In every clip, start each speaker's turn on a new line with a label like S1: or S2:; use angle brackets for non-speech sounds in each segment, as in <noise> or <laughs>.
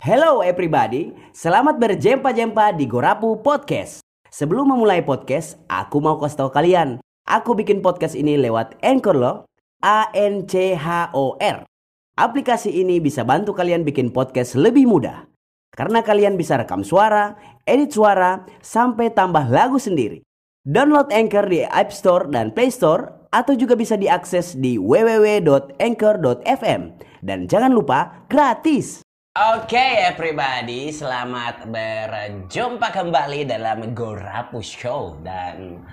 S1: Hello everybody, selamat berjempa-jempa di Gorapu Podcast. Sebelum memulai podcast, aku mau kasih tahu kalian, aku bikin podcast ini lewat Anchor loh, A N C H O R. Aplikasi ini bisa bantu kalian bikin podcast lebih mudah. Karena kalian bisa rekam suara, edit suara, sampai tambah lagu sendiri. Download Anchor di App Store dan Play Store atau juga bisa diakses di www.anchor.fm dan jangan lupa gratis. Oke everybody, selamat berjumpa kembali dalam Gorapu Show dan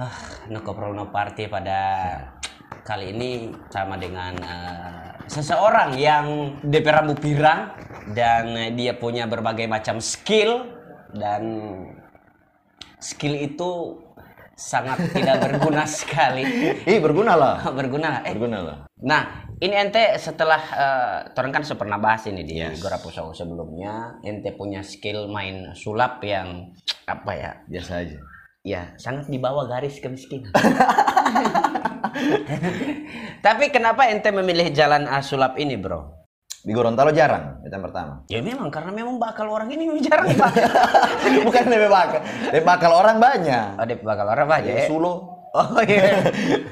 S1: ah, no Kopro no party pada kali ini sama dengan eh, seseorang yang DP rambut pirang dan eh, dia punya berbagai macam skill dan skill itu sangat tidak berguna <laughs> sekali.
S2: Ih berguna lah.
S1: berguna lah. Eh,
S2: Berguna lah.
S1: Nah, ini ente setelah eh, Toreng kan sudah pernah bahas ini di
S2: Yes.
S1: Gora Pusau sebelumnya, ente punya skill main sulap yang apa ya?
S2: Biasa aja.
S1: Ya, sangat di bawah garis
S2: <laughs>
S1: kemiskinan. Tapi kenapa ente memilih jalan ah, sulap ini, Bro?
S2: Di Gorontalo jarang, itu yang pertama. <laughs>
S1: Ya memang karena memang bakal orang ini jarang dipakai.
S2: Bukan DP bakal. DP bakal orang banyak.
S1: oh, dia bakal orang apa aja.
S2: Di
S1: ya?
S2: Sulo.
S1: Oh iya.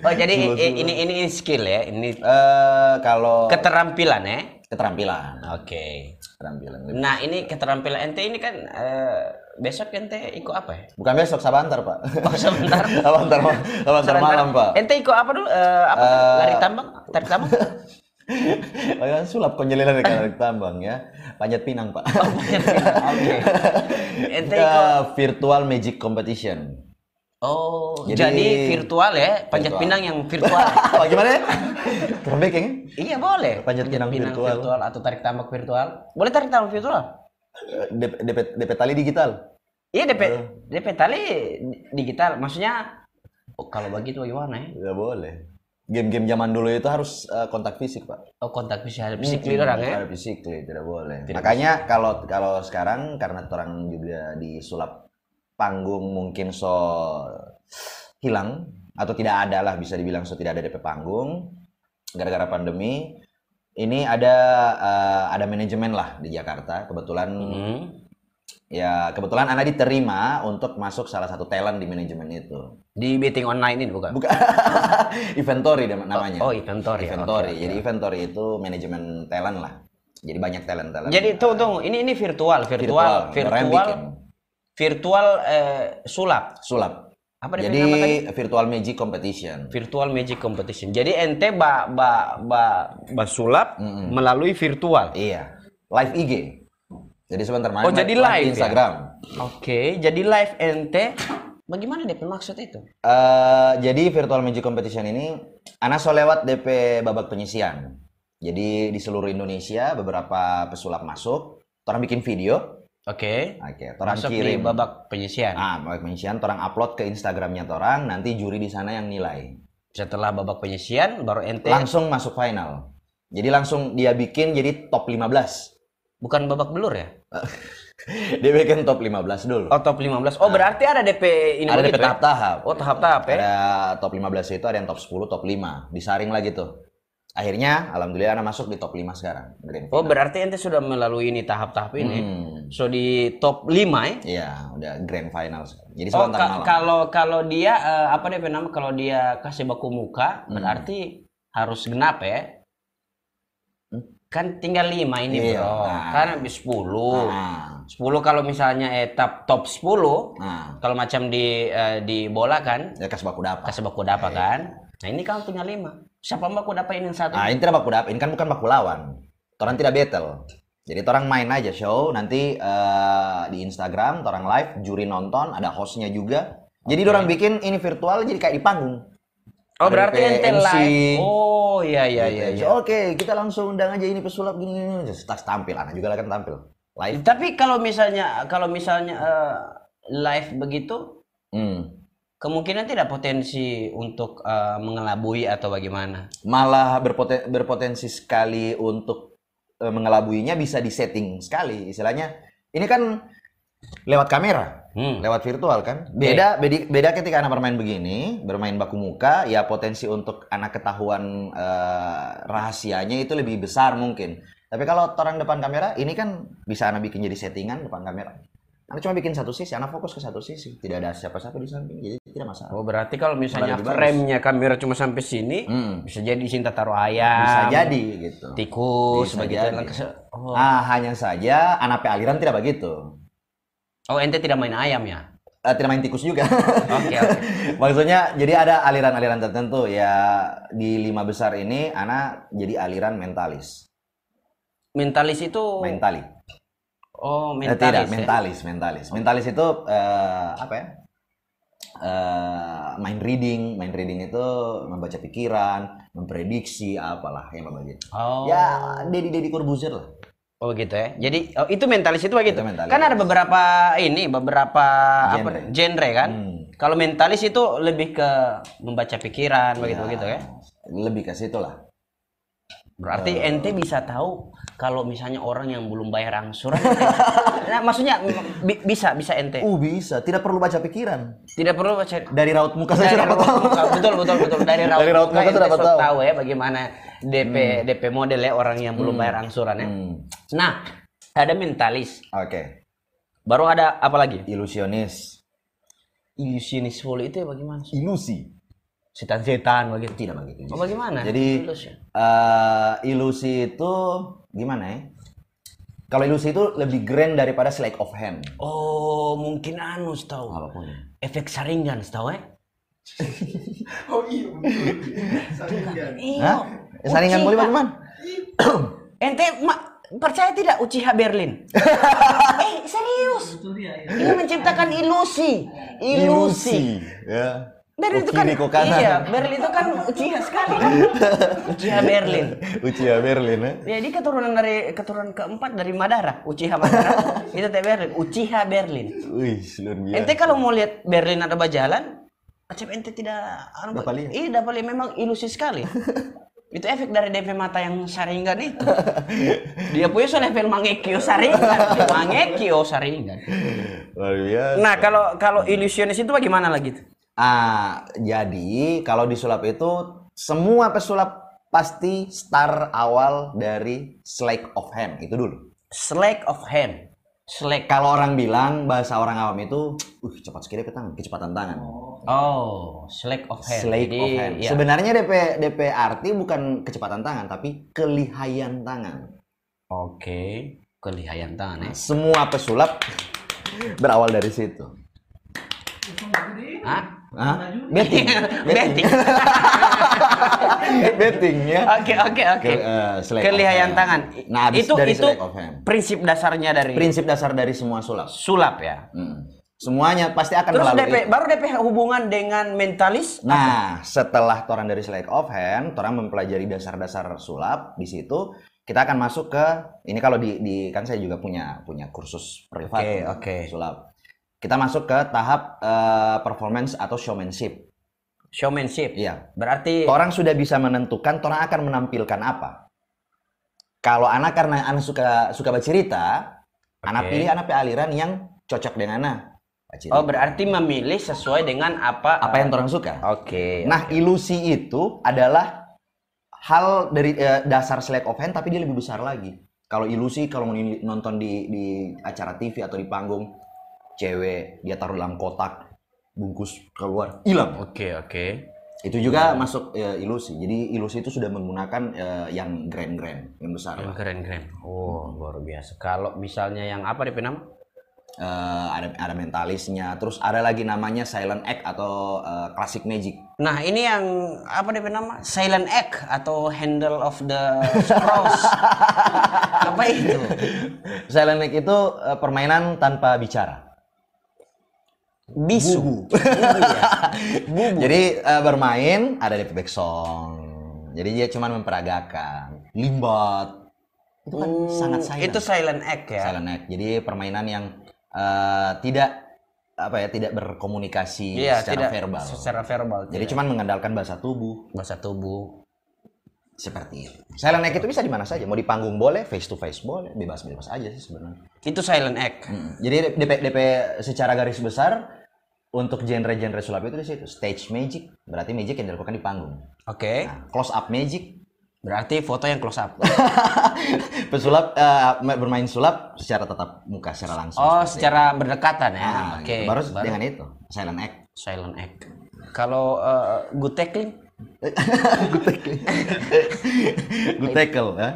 S2: <laughs>
S1: Oh jadi i-
S2: Sulap-sulap.
S1: ini ini ini skill ya, ini
S2: Eh kalau
S1: keterampilan ya.
S2: keterampilan,
S1: Oke.
S2: keterampilan.
S1: Nah ini keterampilan ente ini kan eh, besok ente ikut apa ya?
S2: Bukan besok Sabantar pak.
S1: Oh
S2: <laughs>
S1: sebentar.
S2: Sabantar, ma- Sabantar malam pak.
S1: Ente ikut apa dulu? Eh, apa?
S2: Eh,
S1: Lari tambang? Tarik
S2: <laughs>
S1: tambang?
S2: Bagaimana Oh, ya, sulap konjelilan di kanak tambang ya. Panjat pinang pak. <laughs>
S1: Oh, bukan. Oke. Ente
S2: Ke
S1: ikut.
S2: virtual magic competition.
S1: Oh jadi,
S2: Jadi-
S1: virtual ya? Panjat
S2: Virtual.
S1: pinang yang virtual.
S2: <laughs> Wah gimana ya? Keren banget, ya?
S1: iya boleh.
S2: Panjat pinang virtual.
S1: atau tarik tambang virtual. Boleh tarik tambang virtual?
S2: Eh, DP, DP, DP tali digital.
S1: Iya DP DP tali digital. Maksudnya oh, kalau begitu gimana ya?
S2: Ya boleh. Game-game zaman dulu itu harus eh, kontak fisik, Pak.
S1: Oh kontak fisik
S2: Hmm,
S1: fisik orang ya?
S2: Harus fisik, ya, tidak boleh. Makanya kalau kalau sekarang karena orang juga disulap panggung mungkin so hilang atau tidak ada lah bisa dibilang so tidak ada DP panggung gara-gara pandemi. Ini ada eh, ada manajemen lah di Jakarta. Kebetulan
S1: Hmm.
S2: ya kebetulan Anda diterima untuk masuk salah satu talent di manajemen itu.
S1: Di meeting online ini bukan?
S2: Bukan. inventory dem- namanya.
S1: Oh, inventory.
S2: inventory.
S1: Oke, oke.
S2: Jadi inventory itu manajemen talent lah. Jadi banyak talent talent.
S1: Jadi tuh tuh ini ini virtual, virtual, virtual,
S2: Orang
S1: virtual,
S2: bikin
S1: eh, sulap.
S2: sulap.
S1: Apa dia
S2: Jadi
S1: bilang nama tadi?
S2: virtual magic competition.
S1: Virtual Magic Competition. Jadi ente ba ba ba, ba sulap
S2: Mm-mm.
S1: melalui virtual.
S2: Iya. Live IG. Jadi sebentar main.
S1: Oh, jadi live ya?
S2: Instagram.
S1: Oke, jadi live ente. Bagaimana DP maksud itu?
S2: Eh, jadi virtual magic competition ini Ana so lewat DP babak penyisian. Jadi di seluruh Indonesia beberapa pesulap masuk, orang bikin video,
S1: Oke.
S2: oke, orang
S1: Masuk di
S2: kirim
S1: babak penyisian.
S2: Ah, babak penyisian, torang upload ke Instagramnya torang, nanti juri di sana yang nilai.
S1: Setelah babak penyisian baru ente
S2: Langsung masuk final. Jadi langsung dia bikin jadi top 15.
S1: bukan babak belur ya?
S2: Dia bikin top 15 dulu.
S1: Oh top 15. Oh berarti ada DP ini
S2: ada
S1: begitu
S2: DP
S1: ya?
S2: tahap-tahap.
S1: Oh tahap-tahap ya.
S2: Ada top 15 itu ada yang top 10, top 5. Disaring lagi tuh. Akhirnya alhamdulillah anak masuk di top 5 sekarang. Grand
S1: Oh
S2: final.
S1: berarti ente sudah melalui ini tahap-tahap ini.
S2: Hmm.
S1: So di top 5 ya.
S2: Iya, udah grand final. sekarang. Jadi
S1: Oh,
S2: sebentar
S1: ka-
S2: malam.
S1: kalau kalau dia eh, apa dia nama kalau dia kasih baku muka
S2: Ah,
S1: berarti harus genap ya. Kan tinggal 5 ini,
S2: Iya.
S1: Bro.
S2: Nah.
S1: Kan habis 10.
S2: Nah,
S1: 10 kalau misalnya etap top 10,
S2: nah,
S1: kalau macam di eh, di bola kan
S2: ya kasih baku dapat.
S1: kasih baku
S2: Iya.
S1: dapat kan. Nah, ini kamu punya 5. Siapa baku dapat ini yang satu?
S2: Ah, ini tidak baku dap, ini kan bukan baku lawan. Orang tidak battle. Jadi orang main aja show, nanti eh, di Instagram, orang live, juri nonton, ada hostnya juga. Jadi orang bikin ini virtual, jadi kayak di panggung.
S1: Oh, berarti
S2: RPMC.
S1: ente live. Oh, iya iya iya. iya.
S2: Gitu. Oke, kita langsung undang aja ini pesulap gini gini. gini. Terus Tas tampil, anak juga lah kan tampil. Live.
S1: Tapi kalau misalnya kalau misalnya eh, live begitu
S2: Hmm.
S1: kemungkinan tidak potensi untuk eh, mengelabui atau bagaimana.
S2: Malah berpoten- berpotensi sekali untuk eh, mengelabuinya bisa disetting sekali. Istilahnya, ini kan lewat kamera.
S1: Hmm.
S2: lewat virtual kan beda bedi- beda ketika anak bermain begini bermain baku muka ya potensi untuk anak ketahuan eh, rahasianya itu lebih besar mungkin Tapi kalau orang depan kamera, ini kan bisa anak bikin jadi settingan depan kamera. Anak cuma bikin satu sisi, anak fokus ke satu sisi. Tidak ada siapa-siapa di samping, jadi tidak masalah.
S3: Oh berarti kalau misalnya
S2: Lebih bagus.
S3: frame-nya kamera cuma sampai sini,
S2: Hmm,
S3: bisa jadi di sini taruh ayam,
S2: bisa jadi gitu. Bisa
S3: tikus, begitu.
S2: jadi.
S3: Lang- kese- Oh.
S2: Ah, hanya saja anak pe aliran tidak begitu.
S3: oh ente tidak main ayam
S2: <laughs>
S3: ya?
S2: Eh, tidak main tikus juga.
S3: Oke oke.
S2: Maksudnya jadi ada aliran-aliran tertentu ya di lima besar ini anak jadi aliran mentalis.
S3: Mentalis itu
S2: Mentali.
S3: oh
S2: Eh,
S3: mentalis.
S2: tidak,
S3: ya?
S2: mentalis, mentalis. Mentalis itu eh, apa ya? Eh, mind reading, mind reading itu membaca pikiran, memprediksi apalah yang begitu.
S3: Oh.
S2: Ya, Dedi Dedi Corbuzier lah.
S3: Oh gitu ya. Jadi oh, itu mentalis itu begitu.
S2: Itu mentalis.
S3: Kan ada beberapa ini beberapa apa
S2: Genre.
S3: genre kan.
S2: Hmm.
S3: Kalau mentalis itu lebih ke membaca pikiran
S2: Iya.
S3: begitu-begitu ya.
S2: Lebih ke situ lah.
S3: Berarti ente bisa tahu kalau misalnya orang yang belum bayar
S2: <laughs>
S3: angsuran. nah, maksudnya bi- bisa bisa ente.
S2: Uh bisa, tidak perlu baca pikiran.
S3: Tidak perlu baca
S2: Dari raut muka saja
S3: Dari
S2: dapat
S3: raut
S2: tahu.
S3: muka, betul betul betul dari raut,
S2: Dari raut muka
S3: ente
S2: sudah dapat
S3: sudah
S2: tahu.
S3: tahu ya bagaimana DP DP model ya orang yang belum bayar angsuran ya.
S2: Hmm,
S3: Nah, ada mentalis.
S2: Oke,
S3: Baru ada apa lagi?
S2: ilusionis,
S3: Ilusionis full itu ya bagaimana?
S2: ilusi.
S3: Setan-setan begitu.
S2: Tidak begitu.
S3: Oh, bagaimana?
S2: Jadi
S3: Ilusi.
S2: eh, ilusi itu gimana ya? Kalau ilusi itu lebih grand daripada sleight of hand.
S3: Oh, mungkin anu tahu.
S2: Apapun.
S3: Efek saringan tahu ya?
S4: <laughs> Oh iya, betul. Saringan.
S3: Iya.
S2: Hah? Saringan boleh
S3: bagaimana?
S2: bagaimana?
S3: Ente Eh, ma- percaya tidak Uchiha Berlin?
S1: <laughs>
S3: eh, serius.
S4: Betul ya, ya.
S3: Ini menciptakan ilusi. Ilusi.
S2: Ya.
S3: Berlin
S2: Kok
S3: itu kan
S2: kiri, kok kanan. <laughs>
S3: iya Berlin itu kan Uchiha sekali kan Uchiha Berlin
S2: Uchiha Berlin ya.
S3: jadi keturunan dari keturunan keempat dari Madara Uchiha Madara itu teh Berlin Uchiha Berlin
S2: Wih, luar biasa.
S3: ente kalau mau lihat Berlin ada berjalan acep ente tidak anu,
S2: Dapat lihat.
S3: iya dapat lihat memang ilusi sekali itu efek dari DP mata yang saringan itu dia punya soal level mangekyo saringan mangekyo saringan
S2: Luar biasa.
S3: nah kalau kalau ilusionis itu bagaimana lagi tuh
S2: Ah, jadi kalau disulap itu semua pesulap pasti star awal dari sleight of hand itu dulu.
S3: slack of hand slack
S2: Kalau orang bilang bahasa orang awam itu, uh cepat sekali petang, kecepatan tangan.
S3: Oh, slack of hand.
S2: Sleight
S3: Jadi,
S2: of hand.
S3: ya.
S2: Sebenarnya DP DP arti bukan kecepatan tangan, tapi kelihayan tangan.
S3: Oke, kelihayan tangan. ya.
S2: Semua pesulap <laughs> berawal dari situ.
S3: Hah?
S2: Hah? Betting, betting,
S3: <laughs> Betting.
S2: <laughs> betting ya.
S3: Oke, oke, oke.
S2: Ke- eh, sleight of
S3: Kelihayan
S2: hand.
S3: tangan.
S2: Nah, habis
S3: itu
S2: dari
S3: itu
S2: sleight of hand.
S3: prinsip dasarnya dari
S2: Prinsip dasar dari semua sulap.
S3: sulap ya.
S2: Mm. Semuanya pasti akan
S3: Terus
S2: melalui
S3: DP, baru DP hubungan dengan mentalis.
S2: Nah, setelah toran dari sleight of hand, toran mempelajari dasar-dasar sulap di situ, kita akan masuk ke ini kalau di, di kan saya juga punya punya kursus privat
S3: Oke,
S2: untuk
S3: oke.
S2: sulap. Kita masuk ke tahap eh, performance atau showmanship.
S3: Showmanship.
S2: Iya.
S3: Berarti
S2: Orang sudah bisa menentukan orang akan menampilkan apa. Kalau anak karena anak suka suka bercerita, anak
S3: Oke.
S2: pilih anak pilih aliran yang cocok dengan anak. Bercerita.
S3: Oh, berarti memilih sesuai dengan apa
S2: apa yang orang suka?
S3: Oke.
S2: Nah, ilusi itu adalah hal dari eh, dasar sleight of hand tapi dia lebih besar lagi. Kalau ilusi kalau mau ini- nonton di di acara TV atau di panggung cewek dia taruh dalam kotak bungkus keluar hilang.
S3: Oke, oke.
S2: Itu juga masuk eh, ilusi. Jadi ilusi itu sudah menggunakan eh, yang grand-grand, yang besar.
S3: Keren,
S2: lah.
S3: keren, keren. Oh, luar biasa. Kalau misalnya yang apa di nama?
S2: Eh, ada ada mentalisnya, terus ada lagi namanya silent act atau eh, classic magic. <laughs>
S3: Nah ini yang apa DP nama? Silent Egg atau Handle of the Cross.
S2: <laughs>
S3: apa itu?
S2: Silent act itu eh, permainan tanpa bicara.
S3: Bisu.
S2: Jadi eh, bermain ada di back song. Jadi dia cuma memperagakan limbat. Itu kan
S3: Hmm,
S2: sangat silent.
S3: Itu Silent Egg ya.
S2: Silent act. Jadi permainan yang eh, tidak apa ya tidak berkomunikasi
S3: Iya,
S2: secara
S3: tidak
S2: verbal.
S3: Secara ya. verbal.
S2: Jadi
S3: tidak.
S2: cuma mengandalkan bahasa tubuh
S3: bahasa tubuh.
S2: seperti itu. Silent act itu bisa di mana saja. Mau di panggung boleh, face to face boleh, bebas-bebas aja sih sebenarnya.
S3: Itu Silent Egg.
S2: Mm. Jadi DP DP secara garis besar untuk genre-genre sulap itu di situ. Stage magic berarti magic yang dilakukan di panggung.
S3: Oke.
S2: Nah, close up magic
S3: Berarti foto yang close up.
S2: Pesulap eh, bermain sulap secara tatap muka secara langsung.
S3: <laughs> Oh,
S2: seperti
S3: secara berdekatan
S2: itu.
S3: ya.
S2: Nah,
S3: Oke.
S2: gitu. Baru, dengan itu silent act.
S3: silent act. Kalau eh, good tackling?
S2: Good tackle. Good tackle, ya.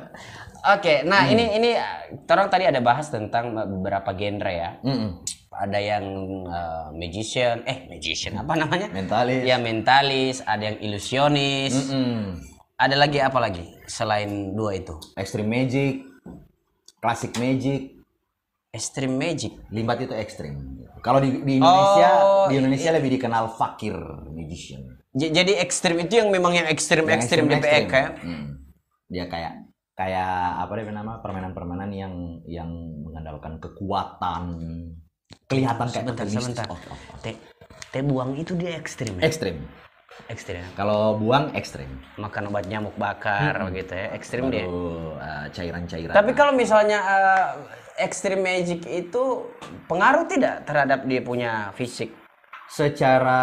S3: Oke, nah
S2: Hmm.
S3: ini ini eh, orang tadi ada bahas tentang eh, beberapa genre ya.
S2: Mm-mm.
S3: Ada yang eh, magician, eh magician apa namanya?
S2: Mentalis.
S3: Ya mentalis, ada yang ilusionis.
S2: Hmm. Mm-mm.
S3: Ada lagi apa lagi selain dua itu?
S2: Extreme magic, classic magic,
S3: Extreme magic.
S2: limbat itu ekstrim. Kalau di, di Indonesia,
S3: Oh,
S2: di Indonesia lebih dikenal fakir magician.
S3: J- jadi ekstrim itu yang memang yang ekstrim
S2: Yang
S3: ekstrim di PE
S2: ekstrim-ekstrim.
S3: kayak
S2: Hmm. Dia kayak kayak apa dia nama permainan-permainan yang yang mengandalkan kekuatan kelihatan kayak
S3: Sebentar,
S2: tertulis.
S3: sebentar.
S2: Oh, oh, oh.
S3: teh teh buang itu dia ekstrim ya?
S2: ekstrim.
S3: ekstrim ya?
S2: Kalau buang ekstrim.
S3: makan obat nyamuk bakar gitu ya ekstrim dia
S2: Hmm. Baru, eh, cairan-cairan.
S3: tapi kalau misalnya eh, ekstrim magic itu pengaruh tidak terhadap dia punya fisik
S2: secara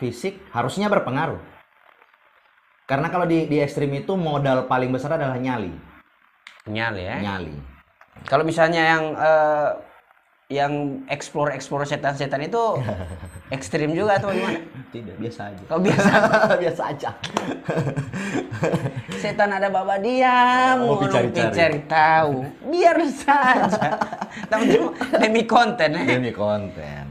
S2: fisik harusnya berpengaruh. Karena kalau di di ekstrim itu modal paling besar adalah nyali,
S3: nyali ya
S2: nyali.
S3: kalau misalnya yang eh, yang explore explore
S2: <laughs>
S3: setan-setan itu ekstrim juga atau gimana
S2: Tidak biasa aja.
S3: kalau biasa
S2: <laughs> biasa aja.
S3: setan ada bapak diam
S2: Oh, mau
S3: ngomong
S2: dicari-cari.
S3: dicari tahu biar
S2: <laughs>
S3: saja tapi cuma demi konten ya
S2: Ini konten.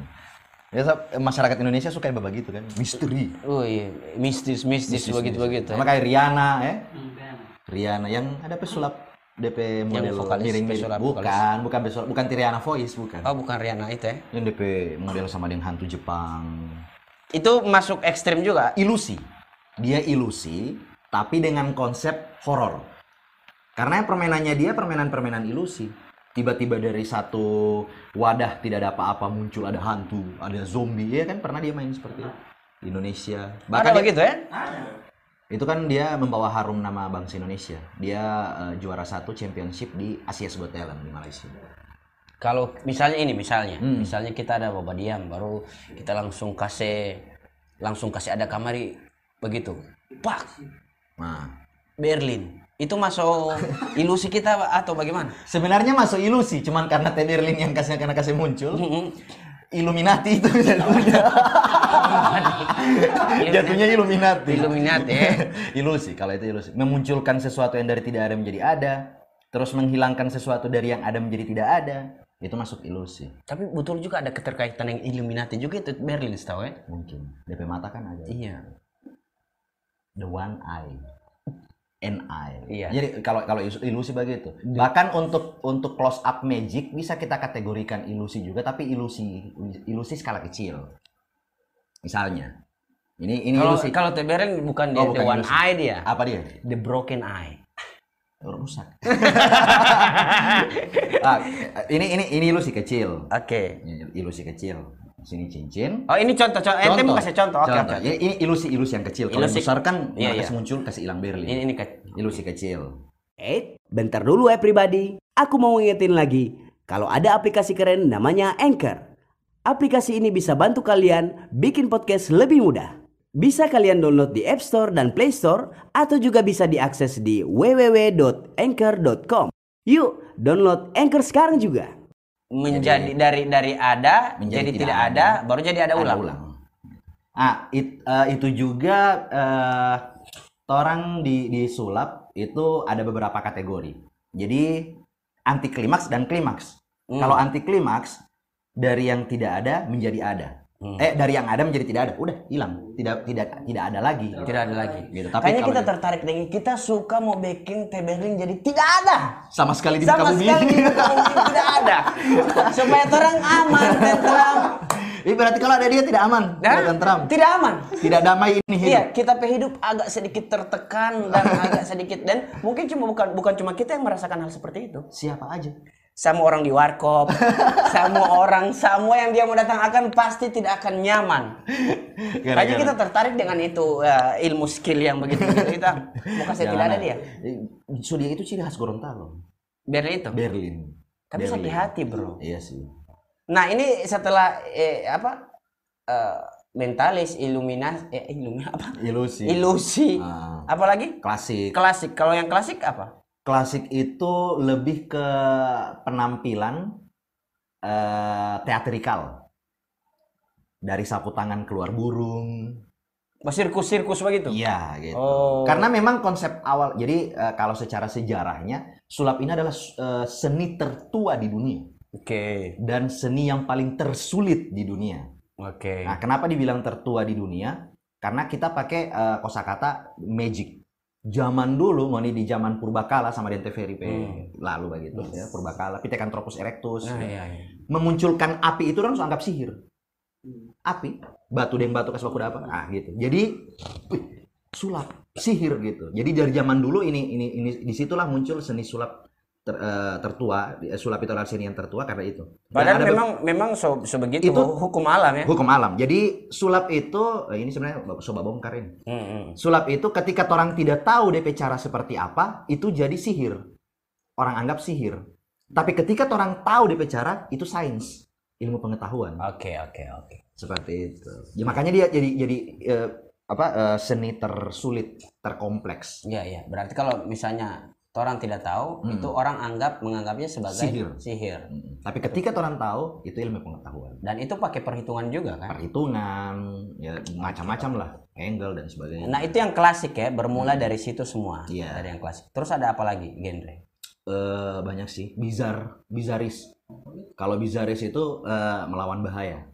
S2: Biasa masyarakat Indonesia suka yang begitu kan, misteri.
S3: oh iya mistis mistis begitu begitu
S2: Sama kayak Riana ya. Riana yang ada pesulap DP model
S3: vokalis,
S2: miring-miring.
S3: pesulap
S2: bukan,
S3: vokalis.
S2: bukan pesulap, bukan Riana Voice, bukan.
S3: oh bukan Riana itu ya
S2: Yang DP model sama dengan hantu Jepang.
S3: itu masuk ekstrim juga
S2: ilusi. Dia ilusi, tapi dengan konsep horor. Karena permainannya dia permainan-permainan ilusi. Tiba-tiba dari satu wadah tidak ada apa-apa muncul ada hantu, ada zombie. Ya kan pernah dia main seperti itu. Di Indonesia. Bahkan
S3: Bahkan
S2: dia-
S3: begitu ya
S2: itu kan dia membawa harum nama bangsa Indonesia. Dia eh, juara satu championship di Asia's Got Talent di Malaysia.
S3: kalau misalnya ini misalnya
S2: Hmm.
S3: misalnya kita ada bapak diam baru kita langsung kasih langsung kasih ada kamari begitu pak
S2: Nah,
S3: Berlin itu masuk ilusi kita atau
S2: <laughs>
S3: bagaimana
S2: sebenarnya masuk ilusi, cuman karena Tedirlin yang kasih karena kasih muncul,
S3: Mm-mm.
S2: Illuminati itu <laughs> jatuhnya. jatuhnya Illuminati.
S3: Iya Illuminati,
S2: <laughs>
S3: ya.
S2: ilusi, kalau itu ilusi. Memunculkan sesuatu yang dari tidak ada menjadi ada, terus menghilangkan sesuatu dari yang ada menjadi tidak ada, itu masuk ilusi.
S3: tapi betul juga ada keterkaitan yang Illuminati juga itu Berlin setahu ya
S2: Mungkin. DP mata kan ada.
S3: iya
S2: The one eye. An eye.
S3: Iya.
S2: Jadi kalau kalau isu- ilusi begitu. Bahkan untuk untuk close up magic bisa kita kategorikan ilusi juga, tapi ilusi ilusi skala kecil. Misalnya, ini ini
S3: kalau
S2: ilusi.
S3: kalau The Berlin bukan dia
S2: Oh,
S3: the
S2: bukan
S3: one
S2: ilusi.
S3: eye dia
S2: Apa dia?
S3: the broken eye <laughs>
S2: rusak. <laughs> Ah, ini ini ini ilusi kecil.
S3: oke
S2: Ini Ilusi kecil. Sini cincin.
S3: Oh ini contoh, contoh. Ente mau kasih contoh, oke oke. oke.
S2: Ini- Ini ilusi-ilusi yang kecil. Kalau yang
S3: Ilusi-
S2: besar kan
S3: Iya,
S2: kasih
S3: iya.
S2: muncul kasih hilang berlin.
S3: Ini ini ke-
S2: Ilusi kecil.
S1: Eh, bentar dulu ya pribadi. Aku mau ngingetin lagi. Kalau ada aplikasi keren namanya Anchor. Aplikasi ini bisa bantu kalian bikin podcast lebih mudah. Bisa kalian download di App Store dan Play Store atau juga bisa diakses di www.anchor.com. Yuk, download Anchor sekarang juga.
S3: menjadi dari dari ada
S2: Menjadi
S3: jadi
S2: tidak
S3: tidak ada, baru jadi ada
S2: Ada
S3: ulang.
S2: ulang. Ah, it- eh, itu juga eh, orang di di sulap itu ada beberapa kategori. Jadi anti klimaks dan klimaks.
S3: Hmm.
S2: Kalau anti klimaks dari yang tidak ada menjadi ada.
S3: Hmm.
S2: Eh dari yang ada menjadi tidak ada. Udah hilang. Tidak tidak tidak ada lagi.
S3: tidak ada lagi.
S2: Gitu. Tapi
S3: Kayaknya
S2: kalau
S3: kita
S2: di-
S3: tertarik dengan kita suka mau baking teh Berlin jadi tidak ada.
S2: sama sekali di
S3: Sama
S2: muka bumi. <laughs>
S3: sekali di muka bumi tidak ada. Supaya orang aman tentram.
S2: Ini berarti kalau ada dia tidak aman, tidak tenteram,
S3: Tidak aman.
S2: tidak damai ini hidup.
S3: Nah. Iya, kita hidup agak sedikit tertekan dan <laughs> agak sedikit dan mungkin cuma bukan bukan cuma kita yang merasakan hal seperti itu.
S2: Siapa aja?
S3: sama orang di warkop, sama orang, semua yang dia mau datang akan pasti tidak akan nyaman. Kayaknya
S2: Gara-gara.
S3: kita tertarik dengan itu eh, ilmu skill yang begitu kita muka saya tidak ada dia.
S2: ya. Sudia itu ciri khas Gorontalo,
S3: Biar itu.
S2: Berlin.
S3: Tapi
S2: Berlin.
S3: sakit hati bro.
S2: Iya sih.
S3: Nah ini setelah eh, apa eh, mentalis, illuminasi, eh, illumi- apa?
S2: Ilusi.
S3: Ilusi.
S2: Ah.
S3: Apalagi
S2: Klasik.
S3: klasik. Kalau yang klasik apa?
S2: Klasik itu lebih ke penampilan eh teatrikal. Dari sapu tangan keluar burung.
S3: Oh, Sirkus-sirkus begitu.
S2: Iya gitu.
S3: Oh.
S2: Karena memang konsep awal. Jadi eh, kalau secara sejarahnya sulap ini adalah eh, seni tertua di dunia
S3: Oke.
S2: dan seni yang paling tersulit di dunia.
S3: Oke.
S2: Nah, kenapa dibilang tertua di dunia? Karena kita pakai eh, kosakata magic. Zaman dulu, mau nih di zaman purbakala sama Dente Feripe
S3: Hmm.
S2: lalu begitu ya, purbakala, Pithecanthropus erectus.
S3: Nah, iya, iya.
S2: eh, Memunculkan api itu orang langsung anggap sihir.
S3: Hmm.
S2: Api, batu deng batu kasbah kuda apa? Ah, gitu. Jadi wih, sulap, sihir gitu. Jadi dari zaman dulu ini ini ini disitulah muncul seni sulap ter- eh, tertua, Eh, sulap itu adalah seni yang tertua karena itu. Dan
S3: Padahal
S2: ada be-
S3: memang memang so, so begitu
S2: Itu-
S3: hukum alam ya.
S2: hukum alam. Jadi sulap itu eh, ini sebenarnya coba bongkar ini.
S3: Hmm, hmm.
S2: Sulap itu ketika orang tidak tahu DP cara seperti apa, itu jadi sihir. Orang anggap sihir. Tapi ketika orang tahu DP cara, itu sains, ilmu pengetahuan.
S3: Oke, oke, oke.
S2: Seperti itu. Ya, makanya dia jadi jadi eh, apa eh, seni tersulit, terkompleks.
S3: Iya, iya. Berarti kalau misalnya orang tidak tahu,
S2: Hmm.
S3: itu orang anggap menganggapnya sebagai
S2: Sihir.
S3: sihir.
S2: Mm. Tapi ketika orang tahu, itu ilmu pengetahuan.
S3: Dan itu pakai perhitungan juga kan?
S2: Perhitungan, ya macam-macam lah, angle dan sebagainya.
S3: Nah, itu yang klasik ya, bermula dari situ semua.
S2: Iya.
S3: Dari yang klasik. Terus ada apa lagi genre?
S2: Eh, banyak sih bizar bizaris kalau bizaris itu eh, melawan bahaya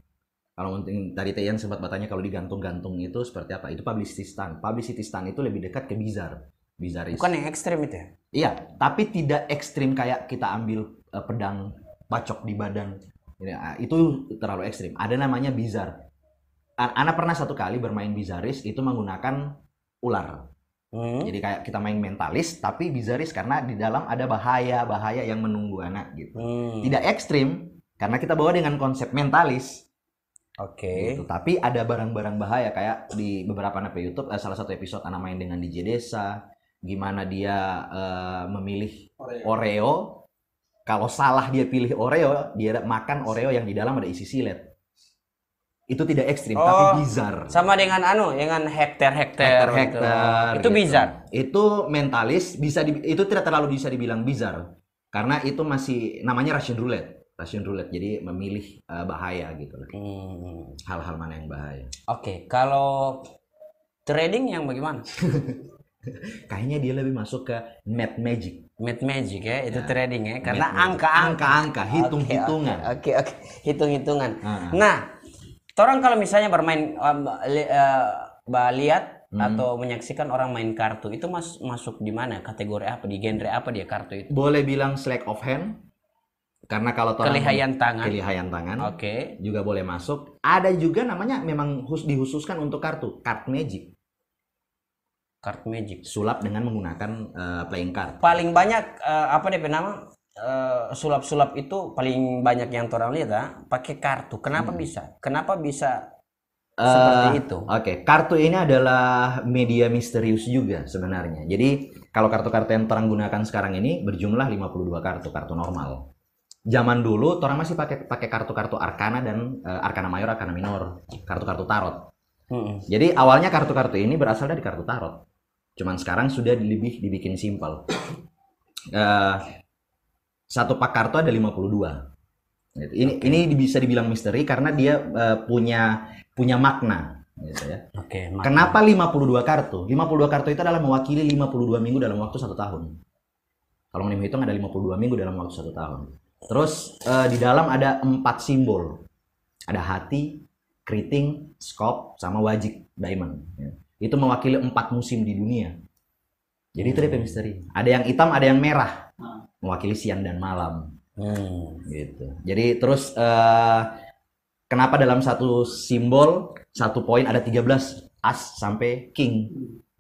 S2: kalau mungkin tadi Tian sempat bertanya kalau digantung-gantung itu seperti apa itu publicity stunt publicity stunt itu lebih dekat ke bizar bizaris
S3: Bukan yang ekstrim itu ya?
S2: iya tapi tidak ekstrim kayak kita ambil eh, pedang bacok di badan Ya, itu terlalu ekstrim ada namanya bizar An- Ana pernah satu kali bermain bizaris itu menggunakan ular
S3: Hmm.
S2: jadi kayak kita main mentalis tapi bizaris karena di dalam ada bahaya-bahaya yang menunggu anak gitu.
S3: Hmm.
S2: Tidak ekstrim karena kita bawa dengan konsep mentalis
S3: Oke.
S2: gitu. Tapi ada barang-barang bahaya kayak di beberapa nape YouTube eh, salah satu episode anak main dengan DJ Desa gimana dia eh, memilih Oreo. Kalau salah dia pilih Oreo, dia makan Oreo yang di dalam ada isi silet. Itu tidak ekstrim
S3: Oh.
S2: tapi bizar.
S3: Sama dengan anu, dengan
S2: hektar
S3: hektar-hektar. gitu.
S2: hektar
S3: Itu
S2: gitu.
S3: bizar.
S2: itu mentalis bisa di- itu tidak terlalu bisa dibilang bizar karena itu masih namanya Russian roulette Russian roulette jadi memilih eh, bahaya gitu loh
S3: Hmm.
S2: hal-hal mana yang bahaya
S3: Oke, kalau trading yang bagaimana?
S2: kayaknya dia lebih masuk ke mad magic
S3: Mid magic ya,
S2: Ya,
S3: itu trading ya, karena
S2: Mad magic.
S3: angka-angka.
S2: angka-angka hitung-hitungan
S3: Oke, oke, hitung-hitungan.
S2: Ah.
S3: Nah, orang kalau misalnya bermain um, li- eh, bah- lihat
S2: Hmm.
S3: atau menyaksikan orang main kartu itu mas masuk di mana? Kategori apa? Di genre apa dia kartu itu?
S2: boleh bilang slack of hand karena kalau orang-
S3: Kelihayan tangan.
S2: kelihayan tangan
S3: Oke.
S2: juga boleh masuk ada juga namanya memang khus- dihususkan untuk kartu card magic
S3: Card magic.
S2: sulap dengan menggunakan eh, playing card
S3: Paling banyak eh, apa DP nama? Eh, sulap-sulap itu paling banyak yang orang lihat ah, pakai kartu. Kenapa bisa? Kenapa bisa seperti
S2: Hmm. Eh,
S3: itu?
S2: Oke, kartu ini adalah media misterius juga sebenarnya. Jadi, kalau kartu-kartu yang terang gunakan sekarang ini berjumlah 52 kartu, kartu normal. Zaman dulu orang masih pakai pakai kartu-kartu arkana dan eh, arkana mayor, arkana minor, kartu-kartu tarot.
S3: Mm-mm.
S2: Jadi, awalnya kartu-kartu ini berasal dari kartu tarot. Cuman sekarang sudah lebih dibikin simpel. Eh, satu pak kartu ada 52. Gitu. Ini ini bisa dibilang misteri karena dia eh, punya punya makna gitu ya.
S3: Oke. Mak.
S2: Kenapa 52 kartu? 52 kartu itu adalah mewakili 52 minggu dalam waktu satu tahun. Kalau mau hitung ada 52 minggu dalam waktu satu tahun. Terus eh, di dalam ada empat simbol. Ada hati, keriting, skop, sama wajik, diamond. ya. Itu mewakili empat musim di dunia. Jadi itu DP misteri. Ada yang hitam, ada yang merah. Mewakili siang dan malam
S3: Hmm.
S2: gitu. Jadi terus eh, kenapa dalam satu simbol satu poin ada 13 as sampai king.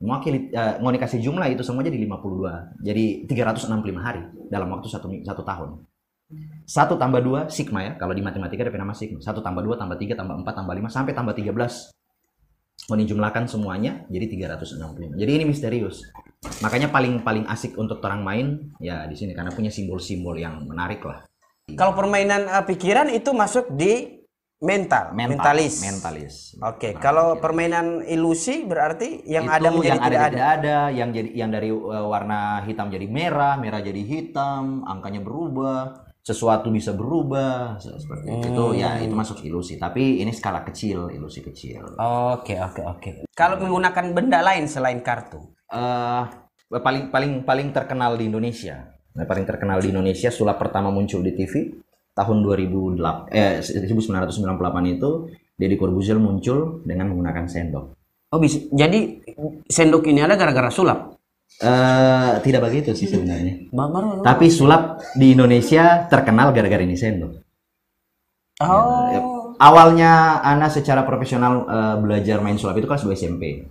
S2: Mewakili eh, ngoni kasih jumlah itu semua jadi 52. Jadi 365 hari dalam waktu satu mi- satu tahun. Satu tambah dua sigma ya. Kalau di matematika ada nama sigma. Satu tambah dua tambah tiga tambah empat tambah lima sampai tambah 13 Mau dijumlahkan semuanya jadi 365. Jadi ini misterius. Makanya paling paling asik untuk orang main ya di sini karena punya simbol-simbol yang menarik lah.
S3: Kalau permainan eh, pikiran itu masuk di mental,
S2: Mental,
S3: mentalis.
S2: mentalis.
S3: Oke,
S2: Nah,
S3: kalau
S2: gitu.
S3: permainan ilusi berarti yang
S2: Itu
S3: ada menjadi
S2: yang ada jadi
S3: tidak ada.
S2: tidak ada, yang jadi yang dari uh, warna hitam jadi merah, merah jadi hitam, angkanya berubah, sesuatu bisa berubah se- seperti itu. itu. Ya
S3: Hmm.
S2: itu masuk ilusi, tapi ini skala kecil, ilusi kecil.
S3: Oke, oke, oke. Kalau
S2: Nah.
S3: menggunakan benda lain selain kartu.
S2: eh paling paling paling terkenal di Indonesia. Nah, paling terkenal di Indonesia sulap pertama muncul di TV tahun 2008 eh 1998 itu Deddy Corbuzier muncul dengan menggunakan sendok.
S3: Oh, bisa. Jadi sendok ini ada gara-gara sulap.
S2: eh tidak begitu sih sebenarnya.
S3: Baru.
S2: Tapi sulap di Indonesia terkenal gara-gara ini sendok. Ya,
S3: Oh.
S2: Awalnya Ana secara profesional eh, belajar main sulap itu kelas 2 SMP.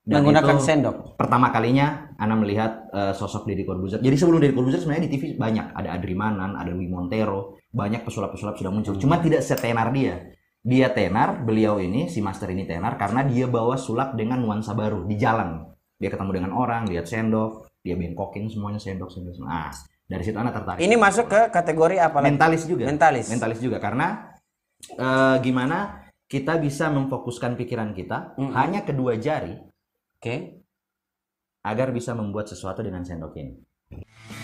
S2: Dan
S3: menggunakan
S2: itu-
S3: sendok.
S2: pertama kalinya Ana melihat eh, sosok Deddy Corbuzier. Jadi sebelum Deddy Corbuzier sebenarnya di TV banyak, ada Adri Manan, ada Wi Montero, banyak pesulap-pesulap sudah muncul.
S3: Hmm.
S2: Cuma tidak setenar dia. Dia tenar, beliau ini si master ini tenar karena dia bawa sulap dengan nuansa baru di jalan. Dia ketemu dengan orang, lihat sendok, dia bengkokin semuanya sendok sendok. semua. Nah, dari situ Ana tertarik.
S3: Ini masuk ke kategori apa lagi?
S2: mentalis juga.
S3: Mentalis.
S2: Mentalis juga karena eh, gimana kita bisa memfokuskan pikiran kita
S3: Mm-mm.
S2: hanya kedua jari
S3: Oke.
S2: agar bisa membuat sesuatu dengan sendok ini.